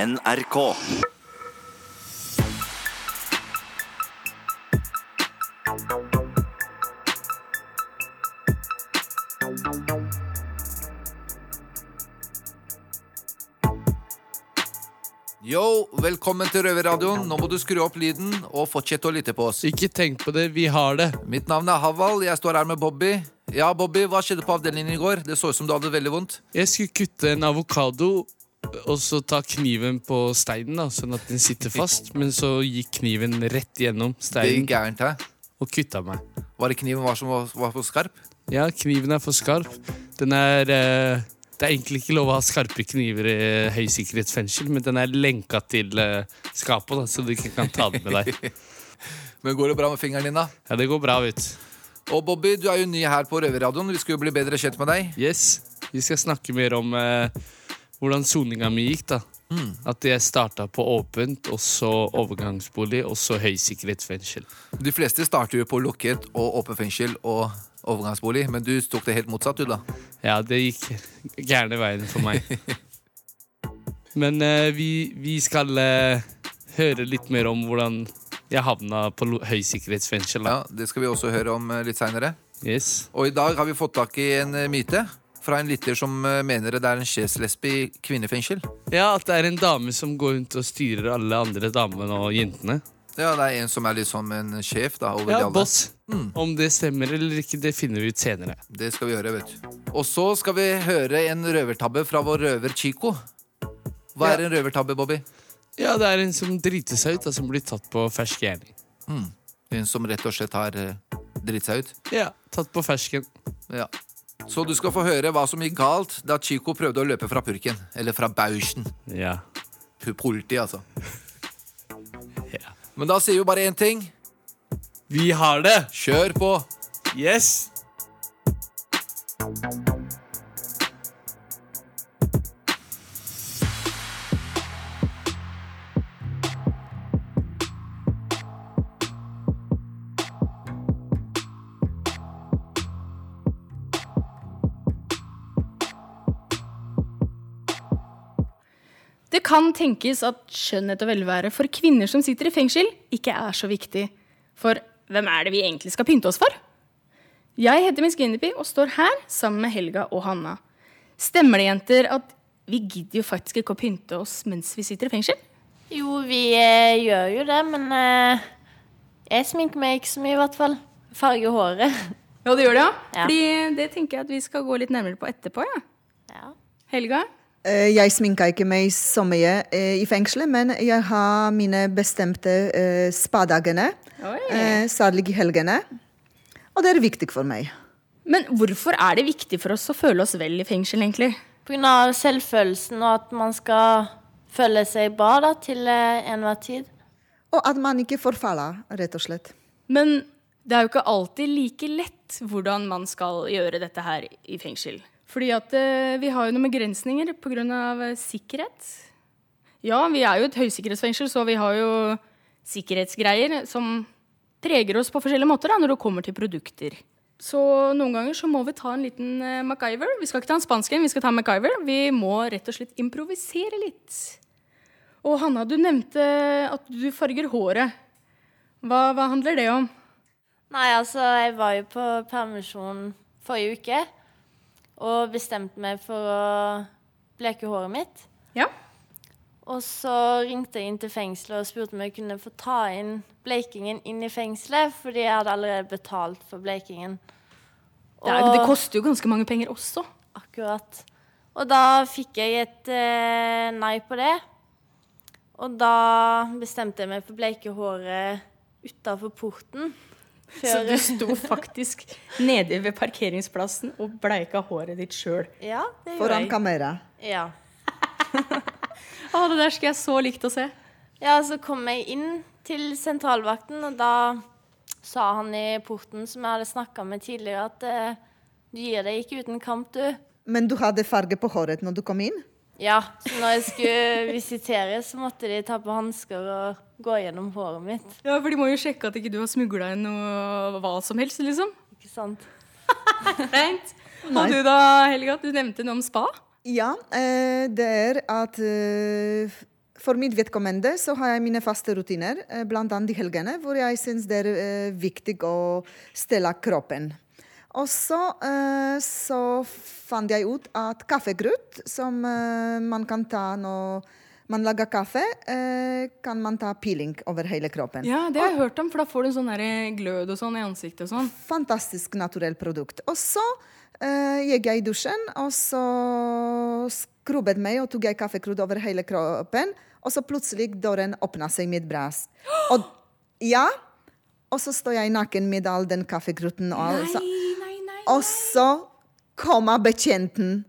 NRK. Yo, velkommen til Røverradioen. Nå må du skru opp lyden og fortsette å lytte på oss. Ikke tenk på det, vi har det. Mitt navn er Haval, jeg står her med Bobby. Ja, Bobby, hva skjedde på avdelingen i går? Det så ut som du hadde det veldig vondt. Jeg skulle kutte en avokado og så ta kniven på steinen, da, sånn at den sitter fast. Men så gikk kniven rett gjennom Det gikk steinen gærent her. og kutta meg. Var det kniven var som var, var for skarp? Ja, kniven er for skarp. Den er eh, Det er egentlig ikke lov å ha skarpe kniver i høysikkerhetsfengsel, men den er lenka til eh, skapet, da, så du ikke kan ta den med deg. Men går det bra med fingeren din, da? Ja, det går bra, vet du. Og Bobby, du er jo ny her på Røverradioen. Vi skal jo bli bedre kjent med deg. Yes, Vi skal snakke mer om eh, hvordan soninga mi gikk. da At jeg starta på åpent, og så overgangsbolig, og så høysikkerhetsfengsel. De fleste starter jo på lukket og åpen fengsel og overgangsbolig, men du tok det helt motsatt, du, da. Ja, det gikk gærne veien for meg. Men eh, vi, vi skal eh, høre litt mer om hvordan jeg havna på lo- høysikkerhetsfengsel. Da. Ja, Det skal vi også høre om eh, litt seinere. Yes. Og i dag har vi fått tak i en eh, myte fra en lytter som eh, mener det er en skjeslesbe i kvinnefengsel. ja, at det er en dame som går rundt og styrer alle andre damene og jentene. Ja, det er en som er litt som en sjef da, over de Ja, alle. boss. Mm. Om det stemmer eller ikke, det finner vi ut senere. Det skal vi gjøre, vet du. Og så skal vi høre en røvertabbe fra vår røver Chico. Hva Ja. er en røvertabbe, Bobby? Ja, det er en som driter seg ut, da, som blir tatt på fersk gjerning. Hun som rett og slett har eh, dritt seg ut. Ja, tatt på fersken. Ja. Så du skal få høre hva som gikk galt da Chico prøvde å løpe fra purken. Eller fra bauschen. Ja. Pu- Politi, altså. ja. Men da sier vi bare én ting. Vi har det! Kjør på! Yes! Det kan tenkes at skjønnhet og velvære for kvinner som sitter i fengsel, ikke er så viktig. For hvem er det vi egentlig skal pynte oss for? Jeg heter Miss Guinevere og står her sammen med Helga og Hanna. Stemmer det, jenter, at vi gidder jo faktisk ikke å pynte oss mens vi sitter i fengsel? Jo, vi eh, gjør jo det, men eh, jeg sminker meg ikke så mye, i hvert fall. Farger håret. Ja, det gjør det, ja. Ja. Fordi det tenker jeg at vi skal gå litt nærmere på etterpå, ja. Ja. Helga? Eh, Jeg sminka ikke meg så mye eh, i fengselet, men jeg har mine bestemte eh, spadagene. Oi. eh, Særlig i helgene. Og det er viktig for meg. Men hvorfor er det viktig for oss å føle oss vel i fengsel, egentlig? På grunn av selvfølelsen og at man skal føle seg bra da, til eh, enhver tid. Og at man ikke forfaller, rett og slett. Men det er jo ikke alltid like lett hvordan man skal gjøre dette her i fengsel. Fordi at eh, vi har jo noen begrensninger pga. eh, sikkerhet. Ja, vi er jo et høysikkerhetsfengsel, så vi har jo sikkerhetsgreier som preger oss på forskjellige måter da, når det kommer til produkter. Så noen ganger så må vi ta en liten eh, MacGyver. Vi skal ikke ta en spansk en, vi skal ta en MacGyver. Vi må rett og slett improvisere litt. Og Hanna, du nevnte at du farger håret. Hva, hva handler det om? Nei, altså, jeg var jo på permisjon forrige uke og bestemte meg for å bleke håret mitt. Ja. Og så ringte jeg inn til fengselet og spurte om jeg kunne få ta inn blekingen inn i fengselet, fordi jeg hadde allerede betalt for blekingen. Det, er, det koster jo ganske mange penger også. Akkurat. Og da fikk jeg et eh, nei på det. Og da bestemte jeg meg for å bleike håret utafor porten. Så Før, du sto faktisk nede ved parkeringsplassen og bleika håret ditt sjøl. ja, det gjorde Foran jeg. kamera. Ja. Å, det der skulle jeg så likt å se. ja, så kom jeg inn til sentralvakten, og da sa han i porten, som jeg hadde snakka med tidligere, at eh, du gir deg ikke uten kamp, du. Men du hadde farge på håret når du kom inn? Ja, så når jeg skulle visitere, så måtte de ta på hansker og gå gjennom håret mitt. Ja, for de må jo sjekke at ikke du har smugla inn noe hva som helst, liksom. Ikke sant? Rent. Og Nei. du da, Helga, du nevnte noe om spa. Ja, eh, det er at eh, For mitt vedkommende så har jeg mine faste rutiner, eh, blant annet i helgene, hvor jeg syns det er eh, viktig å stelle kroppen. Og så, eh, så fant jeg ut at kaffegrut, som eh, man kan ta når man lager kaffe, eh, kan man ta peeling over hele kroppen. Ja, det har jeg hørt om, for da får du en sånn der glød og sånn i ansiktet og sånn. Fantastisk naturelt produkt. Og så eh, gikk jeg i dusjen, og så skrubbet meg og tok jeg kaffekrut over hele kroppen. Og så plutselig døren åpna seg med et bras. Og, ja, og så står jeg naken med all den kaffekruten. Og, all- så, nei, nei. og så kommer betjenten.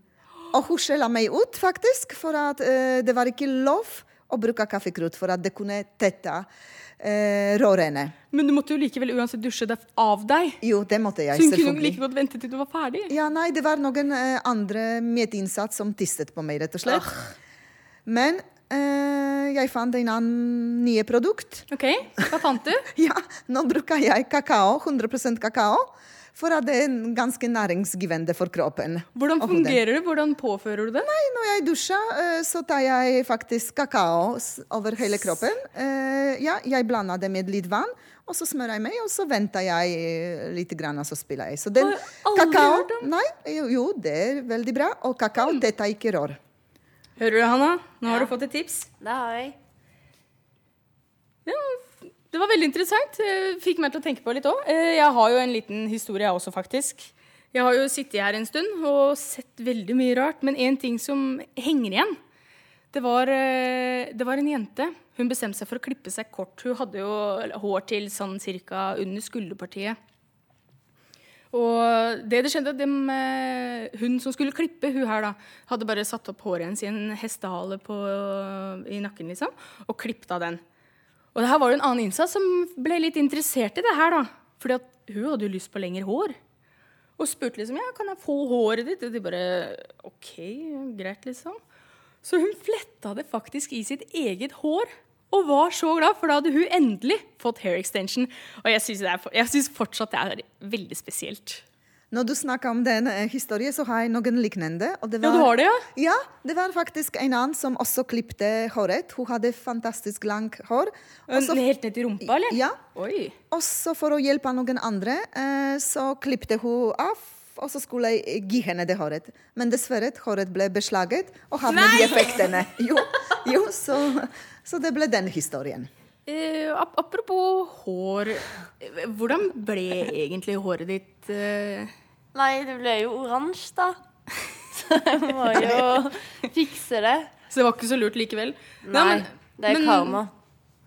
Og hun skjeller meg ut, faktisk, for at eh, det var ikke lov å bruke kaffekrut for at det kunne tette eh, rørene. Men du måtte jo likevel uansett dusje deg av deg. Jo, det måtte jeg, Så hun kunne selvfølgelig. like godt vente til du var ferdig. Ja, nei, det var noen eh, andre medinnsatt som tistet på meg, rett og slett. Men eh, jeg fant en annen nye produkt. OK, hva fant du? Ja, nå bruker jeg kakao, 100 kakao, for at det er en ganske næringsgivende for kroppen. Hvordan Og hodet. fungerer det? Hvordan påfører du det? Nei, når jeg dusjer, eh, så tar jeg faktisk kakao s- over hele kroppen. Eh, ja, jeg blander det med litt vann, og så smører jeg meg, og så venter jeg eh, litt, grann, og så spiller jeg. Så den Har jeg aldri kakao hørt om. Nei, jo, jo, det er veldig bra. Og kakao, dette er ikke rør. Hører du, Hanna? Nå har du fått et tips. Det har jeg. Ja, det var veldig interessant. Eh, Fikk meg til å tenke på litt òg. Jeg har jo en liten historie, jeg også, faktisk. Jeg har jo sittet her en stund og sett veldig mye rart, men én ting som henger igjen, det var, eh, det var en jente. Hun bestemte seg for å klippe seg kort. Hun hadde jo hår til sånn cirka under skulderpartiet. Og det det skjedde, dem, eh, hun som skulle klippe, hun her da, hadde bare satt opp håret hennes i en hestehale på, i nakken, liksom, og klippet av den. Og det her var jo en annen innsatt som ble litt interessert i det her, da. Fordi at hun hadde jo lyst på lengre hår. Og spurte liksom ja, kan jeg få håret ditt. Og de bare OK, greit, liksom. Så hun fletta det faktisk i sitt eget hår. Og var så glad, for da hadde hun endelig fått hair extension. Og jeg syns det er- jeg syns fortsatt det er veldig spesielt. Når du snakker om den eh, historien, så har jeg noen lignende. Og det Ja, du har det, ja? Ja, det var faktisk en annen som også klippte håret. Hun hadde fantastisk langt hår. Og så- Helt ned til rumpa, eller? Ja. Oi. Også for å hjelpe noen andre, eh, så klippte hun av, og så skulle jeg gi henne det håret. Men dessverre, håret ble beslaget og havnet i effektene. Jo, jo så, så det ble den historien. Eh, ap apropos hår. eh, Hvordan ble egentlig håret ditt eh? Nei, det ble jo oransje, da. Så jeg må jo fikse det. Så det var ikke så lurt likevel. Ja, Nei, men- det er men- karma.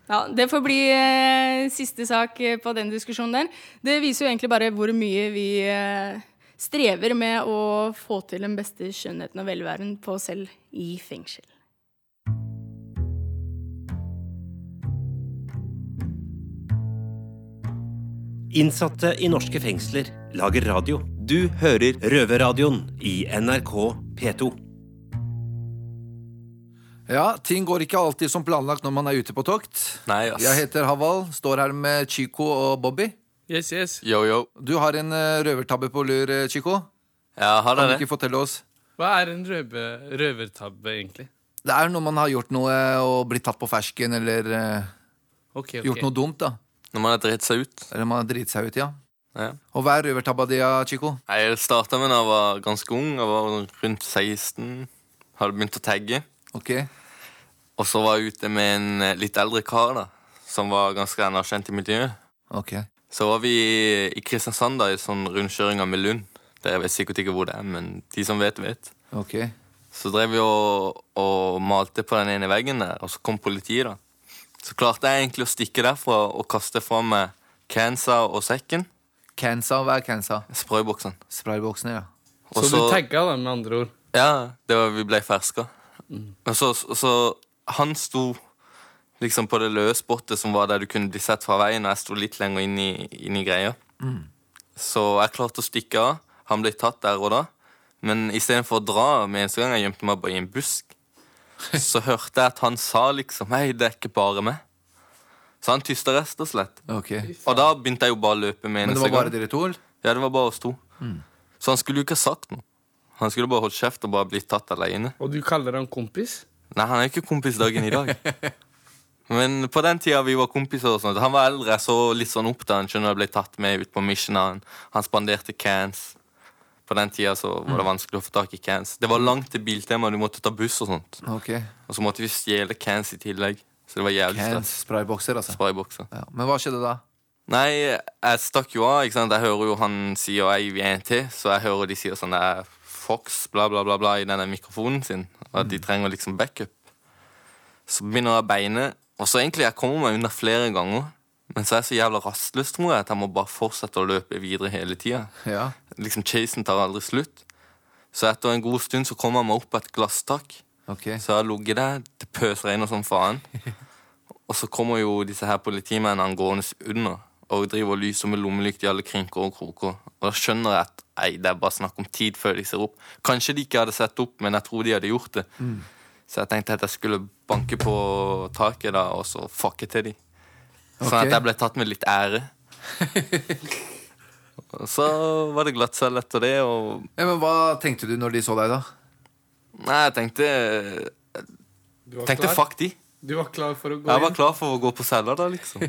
Ja, Det får bli eh, siste sak eh, på den diskusjonen der. Det viser jo egentlig bare hvor mye vi eh, strever med å få til den beste skjønnheten og velværen på oss selv i fengsel. Innsatte i norske fengsler lager radio. Du hører Røverradioen i NRK P2. Ja, ting går ikke alltid som planlagt når man er ute på tokt. Nei, ass. Jeg heter Haval, står her med Chico og Bobby. Yes, yes. Yo, yo. Du har en eh, røvertabbe på lur, eh, Chico. Ja, Kan har du dere det? ikke fortelle oss? Hva er en røve, røvertabbe, egentlig? Det er når man har gjort noe og blitt tatt på fersken, eller eh, Ok, ok. gjort noe dumt, da. Når man har dritt seg ut. Eller man har driti seg ut, ja. Ja. Og hva er røvertabba di, ja, Chico? Nei, Jeg starta med da jeg var ganske ung. Jeg var rundt 16. Hadde begynt å tagge. Ok. Og så var jeg ute med en eh, litt eldre kar da, som var ganske anerkjent i miljøet. ok. Så var vi i Kristiansand, da, i sånn rundkjøringa med Lund. Det vet sikkert ikke hvor det er, men de som vet, vet. Ok. Så drev vi og, og malte på den ene veggen der, og så kom politiet, da. Så klarte jeg egentlig å stikke derfra og kaste fra meg cancer og sekken. Kansa, hva er kansa? Sprayboksene. Sprayboksene, ja. Og Så du tagga, da, med andre ord? Ja, det var, vi ble ferska. Og så, så, så han sto liksom på det løse spottet som var der du kunne bli sett fra veien, og jeg sto litt lenger inn i, inn i greia. Så jeg klarte å stikke av. Han ble tatt der og da. Men istedenfor å dra med eneste gang jeg gjemte meg bare i en busk, så hørte jeg at han sa liksom Hei, det er ikke bare meg. Så han tysta rett og slett. Ok. Og da begynte jeg jo bare å løpe med Men det eneste var gang. bare dere to? eller? Ja, det var bare oss to. Mm. Så han skulle jo ikke ha sagt noe. Han skulle bare holdt kjeft og bare blitt tatt alene. Og du kaller han kompis? Nei, han er ikke kompis dagen i dag. Men på den tida vi var kompiser, og sånt, han var eldre, så litt sånn opp da han skjønner jeg ble tatt med ut på mission. Han, han spanderte cans. På den tida så var Mm. det vanskelig å få tak i cans. Det var langt til Biltema, du måtte ta buss og sånt. Ok, Og så måtte vi stjele cans i tillegg. Så det var jævlig Cans, stress. spraybokser, altså. Bare i bokser. Ja. Men hva skjedde da? Nei, jeg stakk jo av. ikke sant? Jeg hører jo han sier og jeg vil en til, så jeg hører de sier sånn der Fox, bla, bla, bla, bla, i denne mikrofonen sin. Og at de trenger liksom backup. Så begynner jeg å beine. Og så egentlig, jeg kommer meg unna flere ganger. Men så er jeg så jævla rastløs, tror jeg, at jeg må bare fortsette å løpe videre hele tida. Ja. Liksom, chasen tar aldri slutt. Så etter en god stund så kommer jeg meg opp på et glasstak. Ok. Så jeg har ligget der, det pøsregner som faen. Og så kommer jo disse her politimennene gående under og driver og lyser med lommelykt i alle krinker og kroker. Og da skjønner jeg at nei, det er bare snakk om tid før de ser opp. Kanskje de ikke hadde sett opp, men jeg tror de hadde gjort det. Så jeg tenkte at jeg skulle banke på taket da, og så fucke til de. Sånn Ok. at jeg ble tatt med litt ære. og så var det glatt selv etter det, og Ja, men hva tenkte du når de så deg, da? Nei, jeg tenkte Du var, Tenkte klar. fuck de. du var klar for å gå Jeg var inn? klar for å gå på cella da, liksom.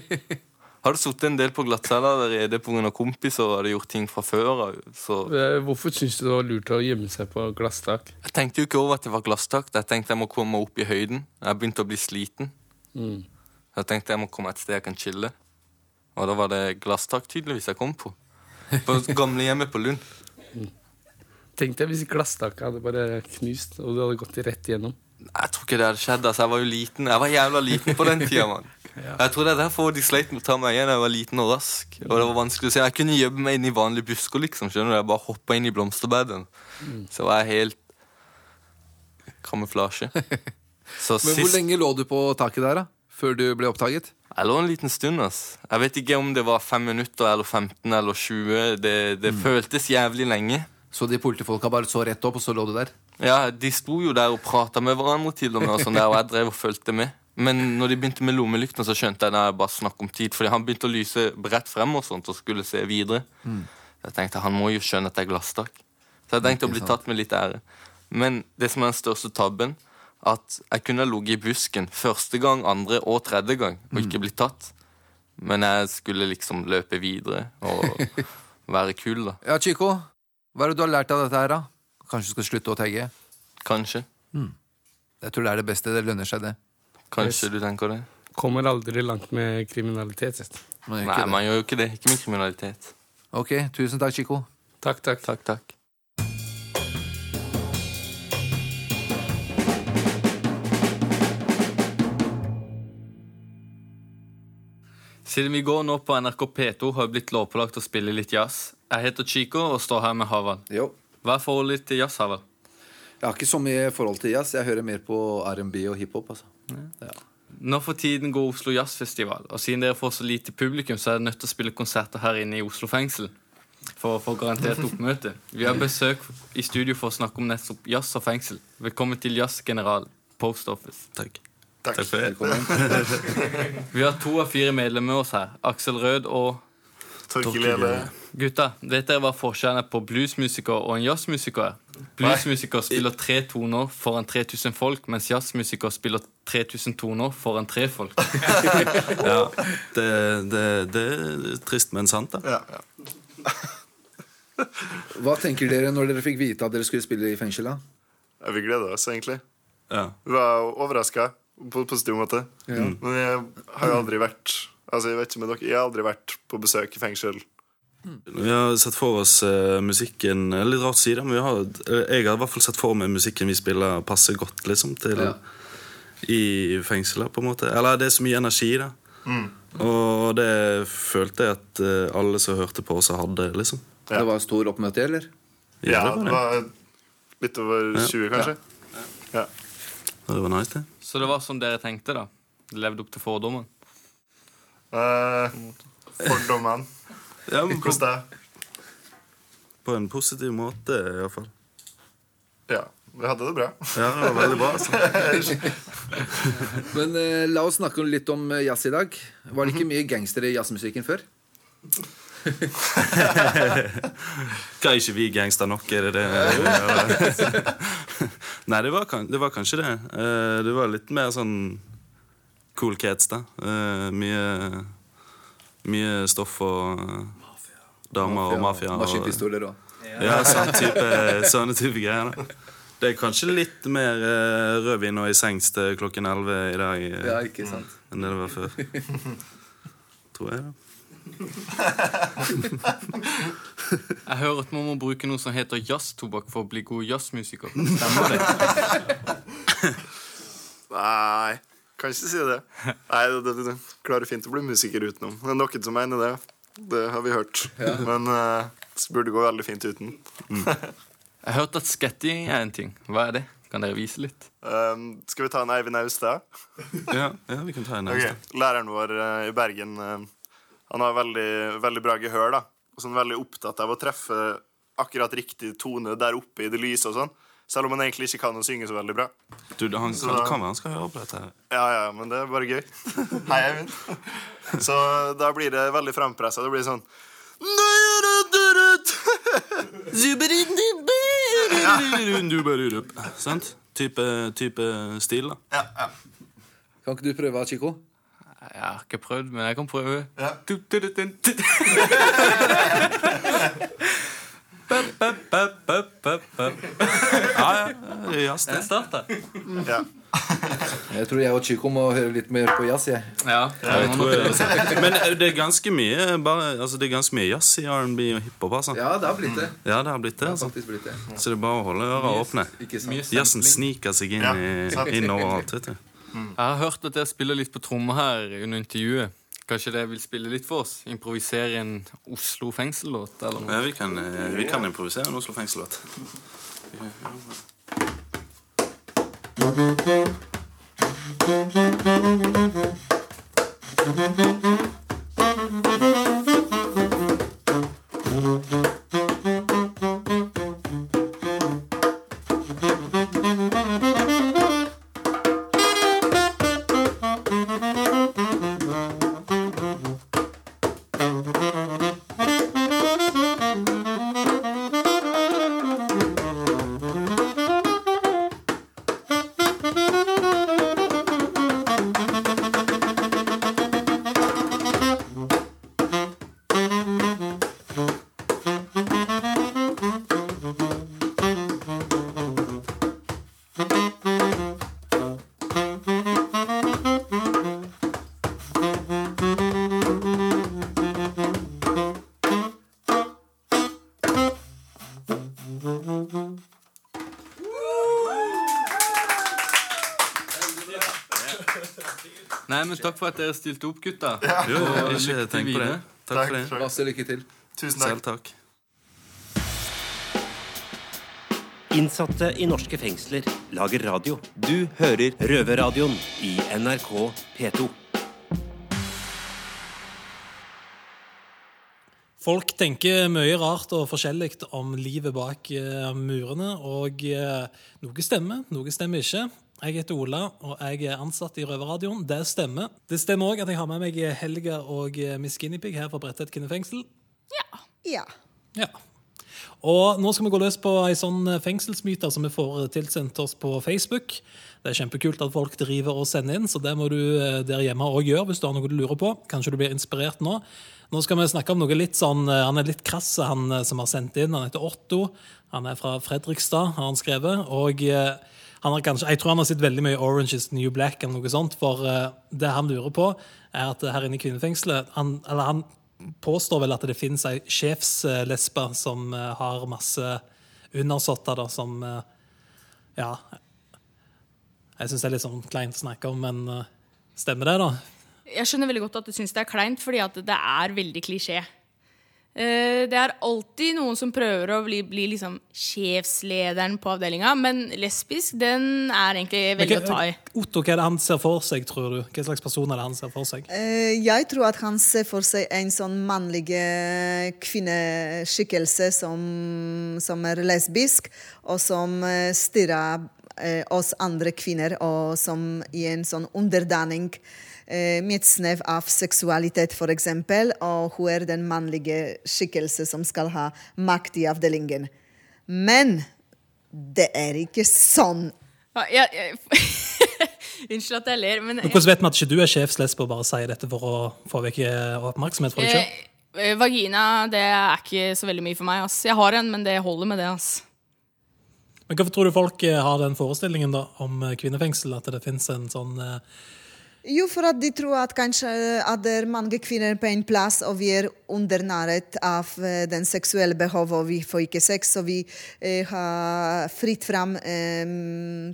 Har du sittet en del på glattcella allerede pga. kompiser og hadde gjort ting fra før av? Så Eh, Hvorfor syns du det var lurt å gjemme seg på glasstak? jeg tenkte jo ikke over at det var glasstakt. Jeg tenkte jeg må komme opp i høyden. Jeg begynte å bli sliten. Jeg tenkte jeg må komme et sted jeg kan chille. Og da var det glasstak tydeligvis jeg kom på. På gamlehjemmet på Lund. Tenk deg hvis glasstaket hadde bare knust, og du hadde gått rett igjennom. Jeg tror ikke det hadde skjedd. altså Jeg var jo liten Jeg var jævla liten på den tida. mann Jeg tror det er derfor de sleit med å ta meg igjen. Jeg var liten og rask. Og det var vanskelig å se Jeg kunne gjemme meg inn i vanlige busker. liksom Skjønner du Jeg bare hoppa inn i blomsterbaden. Mm. Så var jeg helt kamuflasje. Så Men sist Hvor lenge lå du på taket der, da? Før du ble oppdaget? Jeg lå en liten stund. ass Jeg vet ikke om det var 5 minutter eller 15 eller 20. Det, det Mm. føltes jævlig lenge. Så de politifolka bare så rett opp, og så lå du der? Ja, De sto jo der og prata med hverandre, til og med, og sånn der, og jeg drev og fulgte med. Men når de begynte med lommelykten, så skjønte jeg at det bare snakk om tid. Fordi han begynte å lyse bredt frem og sånt, og skulle se videre. Jeg tenkte, Han må jo skjønne at det er glasstak. Så jeg tenkte å bli tatt med litt ære. Men det som er den største tabben, at jeg kunne ha ligget i busken første gang, andre og tredje gang og Mm. ikke blitt tatt. Men jeg skulle liksom løpe videre og være kul, da. Ja, Chico, hva er det du har lært av dette her, da? Kanskje du skal slutte å tagge? Kanskje. Hmm. Jeg tror det er det beste. Det lønner seg, det. Kanskje du tenker det. Kommer aldri langt med kriminalitet. vet du. Man gjør Nei, ikke det. man gjør jo ikke det. Ikke med kriminalitet. Ok, tusen takk, Chico. Takk, takk. Takk, takk. Siden vi går nå på NRK P2, har jeg blitt lovpålagt å spille litt jazz. Jeg heter Chico og står her med Haval. Jo. Hva er forholdet ditt til jazz, Haval? Jeg har ikke så mye forhold til jazz. Jeg hører mer på R&B og hiphop. Altså. Nå for tiden går Oslo Jazzfestival, og siden dere får så lite publikum, så er dere nødt til å spille konserter her inne i Oslo fengsel for å få garantert oppmøte. Vi har besøk i studio for å snakke om nettopp jazz og fengsel. Velkommen til Jazz General, Post Office. Takk. Velkommen. Vi har to av fire medlemmer med oss her. Aksel Rød og Gutta, vet dere hva forskjellen er på bluesmusiker og en jazzmusiker er? Bluesmusiker spiller tre toner foran 3000 folk, mens jazzmusiker spiller 3000 toner foran tre folk. Det, det, det er trist, men sant, da. Hva tenker dere når dere fikk vite at dere skulle spille i fengsel? da? Ja, vi gleder oss egentlig. Ja. Vi var overraska på en positiv måte. Ja. Men jeg har jo aldri vært Altså, jeg vet ikke med dere, jeg har aldri vært på besøk i fengsel. Vi har sett for oss eh, musikken eh, Litt rart å si det, men vi har, eh, jeg har i hvert fall sett for meg musikken vi spiller, passer godt liksom, til Ja. i fengselet. på en måte Eller det er så mye energi, da. Og det følte jeg at eh, alle som hørte på, også hadde. liksom Ja. Det var stor oppmøte, eller? Ja, Ja, det var det det. var litt over 20, kanskje. Ja. Og det var nice, det. Så det var som dere tenkte, da. Det levde opp til fordommen. Eh, fordommene. Ja, men på, Hvordan det? på en positiv måte, iallfall. Ja, vi hadde det bra. Ja, det var veldig bra. Altså. Men eh, la oss snakke litt om eh, jazz i dag. Var det ikke Mhm. mye gangstere i jazzmusikken før? Hva er ikke vi gangster nok, er det det? Nei, Nei, det var, kan- det var kanskje det. Eh, det var litt mer sånn cool cats, da. Eh, mye, mye stoff og damer og mafia. og- Maskinpistoler og Ja, sånn type, sånne type greier. da Det er kanskje litt mer eh, rødvin og i sengs til klokken 11 i dag eh, Ja, ikke sant. enn det det var før. Tror jeg, da. Jeg hører at man må bruke noe som heter jazztobakk for å bli god jazzmusiker. Stemmer det? Nei, kan ikke si det. Nei, det, det, det klarer fint å bli musiker utenom. Det er noen som mener det. Det har vi hørt. Men eh, det burde gå veldig fint uten. Jeg hørte at sketting er en ting. Hva er det? Kan dere vise litt? Um, skal vi ta en Eivind Austad? Ja, ja, vi kan ta en Ok, Austad. Læreren vår eh, i Bergen eh, Han har veldig, veldig bra gehør. da Og sånn Veldig opptatt av å treffe akkurat riktig tone der oppe i det lyse. og sånn Selv om han egentlig ikke kan å synge så veldig bra. Du, det- han, Så- kan- det kan være han skal høre på dette. her Ja, ja, men det er bare gøy. Hei, Eivind. Så da blir det veldig frampressa. Det blir sånn Sant? Type, type stil, da. Kan ikke du prøve, Chico? Jeg har ikke prøvd, men jeg kan prøve. Ja, ja. det er Jazz, det. Ja. Jeg tror jeg og Chico må høre litt mer på jazz, jeg. Ja, Ja, jeg tror jeg, men eh, det er ganske mye bare, altså det er ganske mye jazz i R&B og hiphop. Altså. Ja, det har blitt det. Ja, det har blitt det, altså. blitt det. Så det er bare å holde øra åpne. Mye Jazzen sampling. sniker seg inn, Ja, sant. i, inn overalt. Vet du. Jeg har hørt at dere spiller litt på trommer her under intervjuet. Kanskje dere vil spille litt for oss? Improvisere en Oslo fengsel-låt? eller noe? Ja, vi, kan, eh, vi kan improvisere en Oslo fengsel-låt. Nei, men takk for at dere stilte opp, gutta. Ja. Jo, ikke Og lykke til tenk på det. videre. Takk Takk for det. for det. Masse lykke til. Tusen Selv takk. Innsatte i norske fengsler lager radio. Du hører Røverradioen i NRK P2. Folk tenker mye rart og forskjellig om livet bak eh, murene, og eh, noe stemmer, noe stemmer ikke. Jeg heter Ola, og jeg er ansatt i Røverradioen. Det stemmer. Det stemmer òg at jeg har med meg Helga og eh, Miss Guinepeig her fra Bredtvet kvinnefengsel. Ja. Og nå skal vi gå løs på ei sånn fengselsmyte som vi får eh, tilsendt oss på Facebook. Det er kjempekult at folk driver og sender inn, så det må du eh, der hjemme òg gjøre hvis du har noe du lurer på. Kanskje du blir inspirert nå. Nå skal vi snakke om noe litt sånn eh, Han er litt krass, han eh, som har sendt inn. Han heter Otto. Han er fra Fredrikstad, har han skrevet. Og eh, han har kanskje, jeg tror han har sett veldig mye Orange is the New Black eller noe sånt, for eh, det han lurer på, er at her inne i kvinnefengselet han, Eller han påstår vel at det finnes ei sjefslesbe som eh, har masse undersåtter da, som eh, Ja. Jeg syns det er litt sånn kleint å snakke om, men eh, stemmer det, da? Jeg skjønner veldig godt at du syns det er kleint, fordi at det er veldig klisjé. Eh, Det er alltid noen som prøver å bli, bli liksom sjefslederen på avdelinga, men lesbisk, den er egentlig veldig Men å ta i. hva- Otto, hva er det han ser for seg, tror du? Hva slags person er det han ser for seg? Eh, Jeg tror at han ser for seg en sånn mannlig eh, kvinneskikkelse som, som er lesbisk, og som eh, stirrer eh, oss andre kvinner, og som i en sånn underdanning eh, med et snev av seksualitet, f.eks., og hun er den mannlige skikkelse som skal ha makt i avdelingen. Men det er ikke sånn Ja, jeg, jeg, unnskyld at jeg ler, men Men Hvordan vet vi at ikke du er sjefslesb og bare sier dette for å få vekk eh, oppmerksomhet fra deg sjøl? Eh, Vagina det er ikke så veldig mye for meg. ass. Jeg har en, men det holder med det. ass. Men hvorfor tror du folk eh, har den forestillingen da, om eh, kvinnefengsel? At det fins en sånn eh, Jo, for at de tror at kanskje at det er mange kvinner på en plass, og vi er undernæret av eh, den seksuelle behovet, og vi får ikke sex, og vi eh, har fritt fram eh,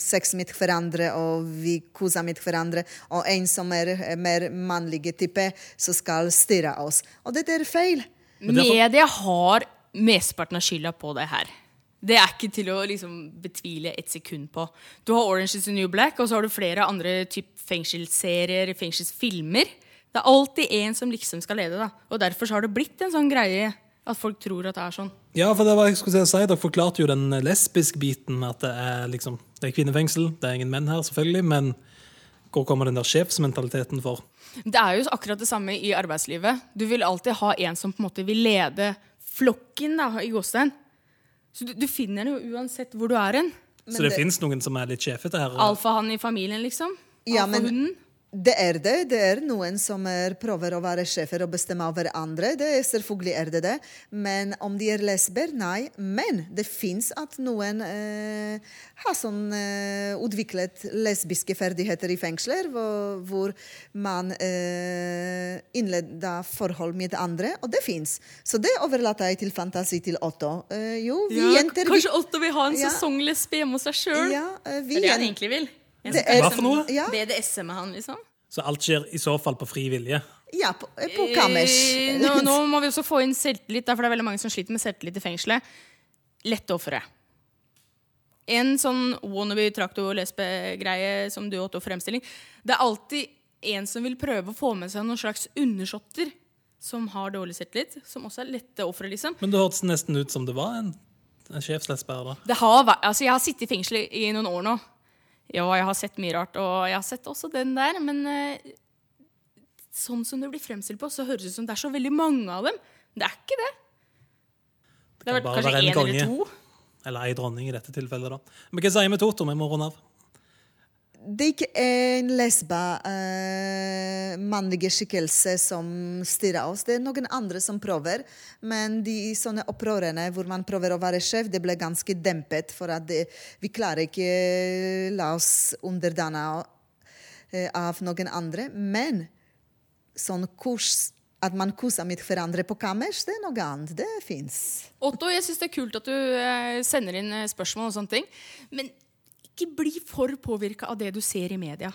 sex med hverandre, og vi koser med hverandre, og en som er eh, mer mannlig type, så skal styre oss. Og dette er feil. Media har mesteparten av skylda på det her. Det er ikke til å liksom betvile et sekund på. Du har Orange is the New Black, og så har du flere andre typ fengselsserier, fengselsfilmer. Det er alltid én som liksom skal lede, da. Og derfor så har det blitt en sånn greie at folk tror at det er sånn. Ja, for det var jeg skulle si, dere forklarte jo den lesbiske biten med at det er liksom, det er kvinnefengsel, det er ingen menn her, selvfølgelig, men hvor kommer den der sjefsmentaliteten for? Det er jo akkurat det samme i arbeidslivet. Du vil alltid ha en som på en måte vil lede flokken, da, i gåstein. Så du, du finner det jo uansett hvor du er hen. Så det, finnes noen som er litt sjefete her? og- Alfahannen i familien, liksom. Ja, men Alfahunden. det er det. Det er noen som er, prøver å være sjefer og bestemme over andre. Det er Selvfølgelig er det det. Men om de er lesber? Nei. Men det fins at noen eh, har sånn eh, utviklet lesbiske ferdigheter i fengsler, hvor, hvor man eh, innleder forhold med andre, og det fins. Så det overlater jeg til fantasi til Otto. Eh, jo, vi Ja, jenter vi- kanskje Otto vil ha en Ja. sesonglesbe hjemme hos seg sjøl. Ja, eh, vi det er det han jen- egentlig vil. En Det som er- kan Hva for noe? liksom BDSM-e han, liksom. Så alt skjer i så fall på fri vilje? Ja, på, på kammers. Eh, Nå, nå må vi også få inn selvtillit, da, for det er veldig mange som sliter med selvtillit i fengselet. Lette ofre. En sånn wannabe traktor-lesbe-greie som du åtte fremstilling Det er alltid en som vil prøve å få med seg noen slags undersåtter som har dårlig selvtillit, som også er lette ofre, liksom. Men det hørtes nesten ut som det var en, en sjefslesbe her, da. Det har vært, altså jeg har sittet i fengsel i i noen år nå. Ja, jeg har sett mye rart, og jeg har sett også den der, men eh, sånn som det blir fremstilt på, så høres det ut som det er så veldig mange av dem. Men det er ikke det. Det har vært Bare kanskje være en én eller to. konge. Eller ei dronning i dette tilfellet, da. Men hva sier vi til Otto? Vi må runde av. Det er ikke en lesba eh, mannlige skikkelse som styrer oss. Det er noen andre som prøver. Men de sånne opprørene hvor man prøver å være sjef, det ble ganske dempet. For at det, vi klarer ikke eh, la oss underdanne eh, av noen andre. Men sånn kurs, at man koser med hverandre på kammers, det er noe annet. Det fins. Otto, jeg syns det er kult at du eh, sender inn eh, spørsmål og sånne ting, men ikke bli for påvirka av det du ser i media.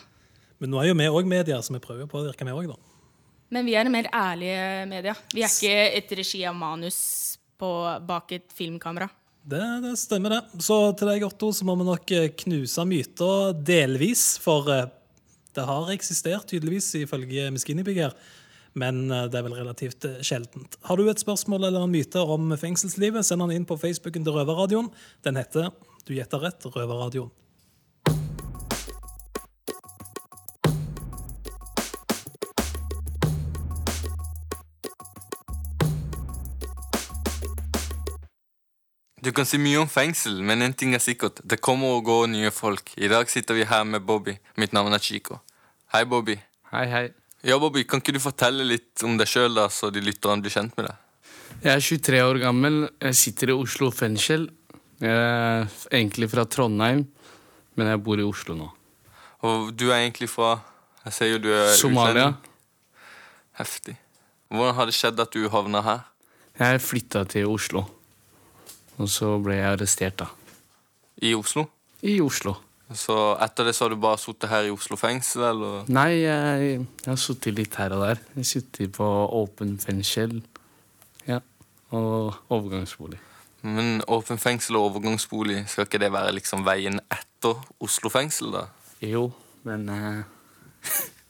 Men nå er jo vi òg media, så vi prøver å påvirke, vi òg, da. Men vi er mer ærlige media. Vi er ikke et regi av manus på, bak et filmkamera. Det, det stemmer, det. Så til deg, Otto, så må vi nok eh, knuse myter delvis. For eh, det har eksistert, tydeligvis, ifølge Miskinibygg her. Men eh, det er vel relativt eh, sjeldent. Har du et spørsmål eller en myte om fengselslivet, send den inn på Facebooken til Røverradioen. Den heter, du gjetter rett, Røverradioen. Du kan si mye om fengsel, men en ting er sikkert. Det kommer og går nye folk. I dag sitter vi her med Bobby. Mitt navn er Chico. Hei, Bobby. Hei, hei. Ja, Bobby, kan ikke du fortelle litt om deg sjøl, da, så de lytterne blir kjent med deg? Jeg er 23 år gammel. Jeg sitter i Oslo fengsel. Jeg er egentlig fra Trondheim, men jeg bor i Oslo nå. Og du er egentlig fra Jeg ser jo du er Somalia. utlending. Heftig. Hvordan har det skjedd at du havna her? Jeg flytta til Oslo, og så ble jeg arrestert, da. I Oslo? I Oslo. Så etter det så har du bare sittet her i Oslo fengsel, eller? Nei, jeg, jeg har sittet litt her og der. Jeg har sittet på åpen fengsel ja. og overgangsbolig. Men åpen fengsel og overgangsbolig, skal ikke det være liksom veien etter Oslo fengsel, da? Jo, men eh,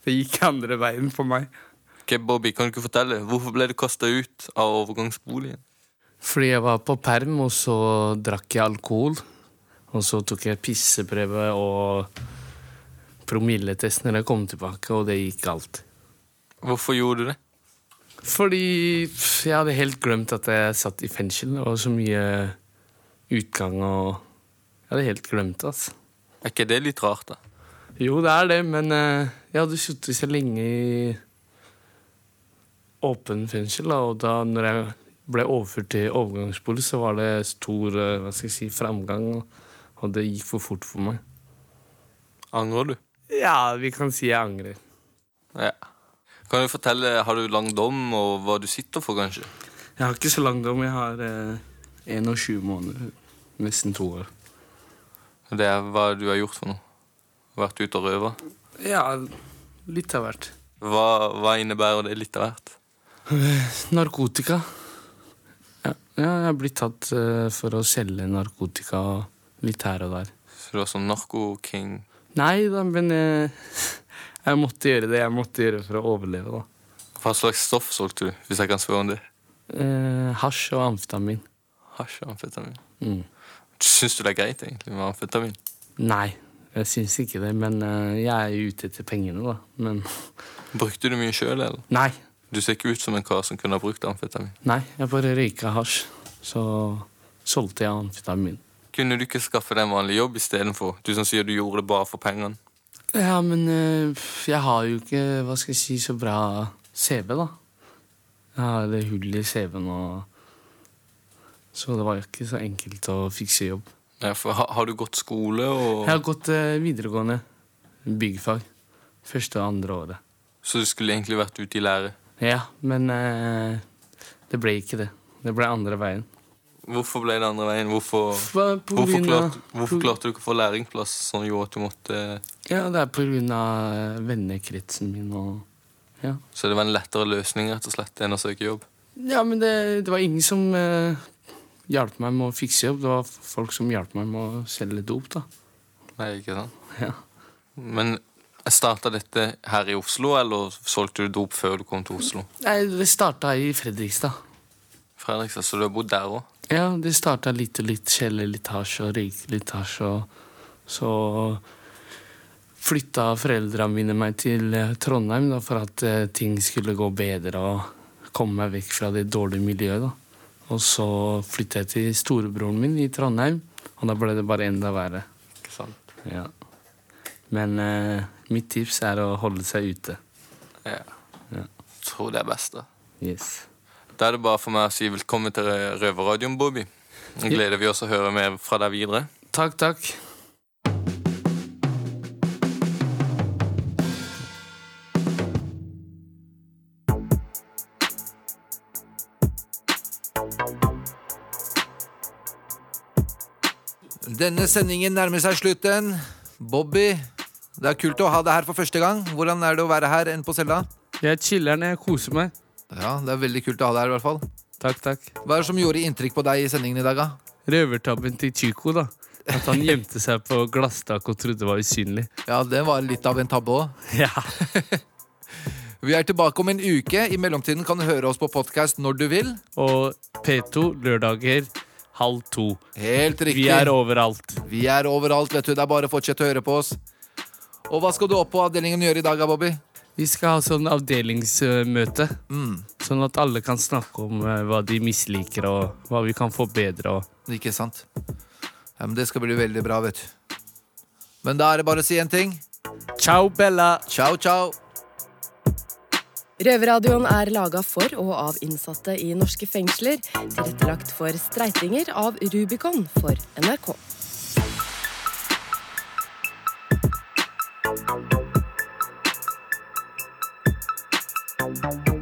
det gikk andre veien for meg. Ok, Bobby, kan du ikke fortelle? Hvorfor ble du kasta ut av overgangsboligen? Fordi jeg var på perm, og så drakk jeg alkohol. Og så tok jeg pisseprøve og promilletest når jeg kom tilbake, og det gikk galt. Hvorfor gjorde du det? Fordi pff, jeg hadde helt glemt at jeg satt i fengsel. Det var så mye utgang og Jeg hadde helt glemt det, altså. Er ikke det litt rart, da? Jo, det er det, men eh, jeg hadde sittet så lenge i åpen fengsel, da, og da når jeg ble overført til overgangsbolig, så var det stor eh, hva skal jeg si, framgang, og, og det gikk for fort for meg. Angrer du? Ja, vi kan si jeg angrer. Ja. Kan du fortelle, Har du lang dom, og hva du sitter for, kanskje? Jeg har ikke så lang dom. Jeg har eh, 21 måneder. Nesten to år. Det er hva du har gjort for noe? Vært ute og røva? Ja, litt av hvert. Hva, hva innebærer det litt av hvert? Eh, Narkotika. Ja, ja, jeg har blitt tatt eh, for å selge narkotika litt her og der. Så du er sånn narko-king? Nei da, men eh, jeg måtte gjøre det jeg måtte gjøre for å overleve, da. Hva slags stoff solgte du, hvis jeg kan spørre om det? Eh, hasj og amfetamin. Hasj og amfetamin. Mm. Syns du det er greit, egentlig, med amfetamin? Nei, jeg syns ikke det, men eh, jeg er jo ute etter pengene, da. Men Brukte du mye sjøl, eller? Nei. Du ser ikke ut som en kar som kunne ha brukt amfetamin. nei, jeg bare røyka hasj. Så solgte jeg amfetamin. Kunne du ikke skaffe deg en vanlig jobb istedenfor? Du som sier du gjorde det bare for pengene. Ja, men eh, pff, jeg har jo ikke, hva skal jeg si, så bra CV, da. Jeg har det hullet i CV-en og Så det var jo ikke så enkelt å fikse jobb. Ja, for har, har du gått skole og Jeg har gått eh, videregående byggfag. Første og andre året. Så du skulle egentlig vært ute i lære. Ja, men eh, det ble ikke det. Det ble andre veien. Hvorfor ble det andre veien? Hvorfor, Hva- på hvorfor, grunn av- klarte, hvorfor klarte du ikke å få lærlingplass som gjorde at du måtte Ja, det er på grunn av vennekretsen min og Så det var en lettere løsning rett og slett enn å søke jobb? Ja, men det, det var ingen som eh, hjalp meg med å fikse jobb. Det var f- folk som hjalp meg med å selge dop, da. Nei, ikke sant? Ja. Men starta dette her i Oslo, eller solgte du dop før du kom til Oslo? Nei, det starta i Fredrikstad. Fredrikstad, Så du har bodd der òg? Ja, det starta litt og litt. Skjelle litt hasj og røyke litt hasj. Og så flytta foreldra mine meg til eh, Trondheim da, for at eh, ting skulle gå bedre og komme meg vekk fra det dårlige miljøet. da. Og så flytta jeg til storebroren min i Trondheim, og da ble det bare enda verre. Ikke sant? Ja. Men eh, mitt tips er å holde seg ute. Ja. Ja. Tror det er best, da. Yes. Da er det bare for meg å si velkommen til Rø- Røverradioen, Bobby. Nå gleder vi oss å høre mer fra deg videre. Takk, takk. Denne sendingen nærmer seg slutten. Bobby, det er kult å ha deg her for første gang. Hvordan er det å være her enn på cella? Jeg chiller når jeg koser meg. Ja, det er veldig kult å ha deg her i hvert fall. Takk, takk. Hva er det som gjorde inntrykk på deg i sendingen i dag, da? Røvertabben til Chico, da. At han gjemte seg på glasstak og trodde var usynlig. Ja, det var litt av en tabbe òg. Ja. Vi er tilbake om en uke. I mellomtiden kan du høre oss på podkast når du vil. Og P2 lørdager halv to. Helt riktig. Vi er overalt. Vi er overalt, vet du. Det er bare å fortsette å høre på oss. Og hva skal du opp på avdelingen gjøre i dag, da, Bobby? Vi skal ha sånn avdelingsmøte. Mm. Sånn at alle kan snakke om eh, hva de misliker, og hva vi kan forbedre. Og... Ikke sant? Ja, men Det skal bli veldig bra, vet du. Men da er det bare å si en ting. Ciao, Bella. Ciao, ciao. Røverradioen er laga for og av innsatte i norske fengsler. Tilrettelagt for streitinger av Rubicon for NRK. Thank you.